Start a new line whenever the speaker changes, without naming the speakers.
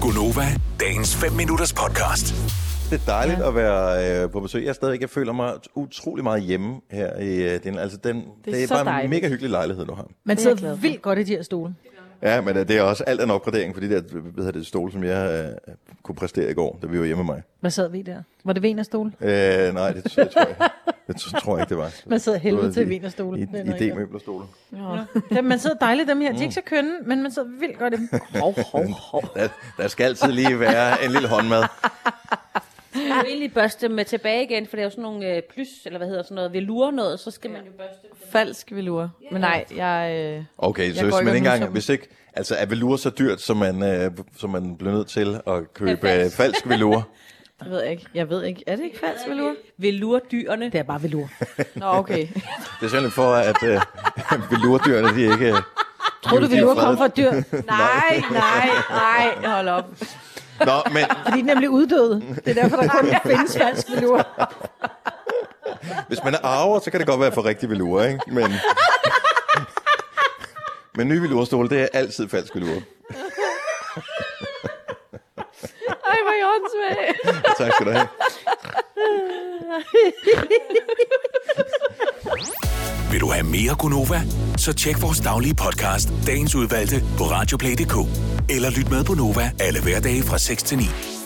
Gunova, dagens 5 minutters podcast.
Det er dejligt ja. at være øh, på besøg. Jeg stadigvæk jeg føler mig utrolig meget hjemme her i øh, den. Altså, den, det er, det er
så
bare en
dejligt.
mega hyggelig lejlighed, du har.
Man
Det er jeg
sidder
glad for.
vildt godt i de her stole.
Ja, men øh, det er også alt en opgradering for de der hvad hedder det, stole, som jeg øh, kunne præstere i går, da vi var hjemme med mig.
Hvad sad vi der? Var det Venerstol?
Øh, nej, det, det tror jeg Det tror jeg ikke, det var.
Man sidder helvede
Det var
til
i-
wienerstole.
I,
Det er noget, jeg
i
gør.
D-møblerstole.
Dem, man sidder dejligt dem her. De er ikke så kønne, men man sidder vildt godt i dem. Mm. Hov, hov, hov.
Der, der skal altid lige være en lille håndmad.
Man kan jo egentlig børste dem øh, tilbage igen, for det er jo sådan nogle øh, plys, eller hvad hedder sådan noget, velure noget, så skal man jo børste dem.
Falsk velure. Yeah. Men nej, jeg... Øh,
Okay, så
går
hvis
ikke og
man ikke
nusser
engang,
dem.
hvis ikke, altså er velure så dyrt, som man, øh, som man bliver nødt til at købe
falsk.
øh, falsk velure?
jeg ved ikke. Jeg ved ikke. Er det ikke falsk velure?
Velurdyrene.
Det er bare velur.
Nå, okay.
Det er simpelthen for, at øh, velurdyrene, de ikke... øh,
Tror du,
de er
velur kom
fredet.
fra et dyr?
nej, nej, nej. Hold op.
Nå, men
Fordi de er nemlig uddøde. Det er derfor, der kun findes falsk velur.
hvis man er arver, så kan det godt være for rigtig velure, ikke? Men, men nye velurestole, det er altid falsk velure.
Ej, hvor er I åndssvage.
Tak skal du have.
Vil du have mere Gunova? Så tjek vores daglige podcast, dagens udvalgte, på radioplay.dk. Eller lyt med på Nova alle hverdage fra 6 til 9.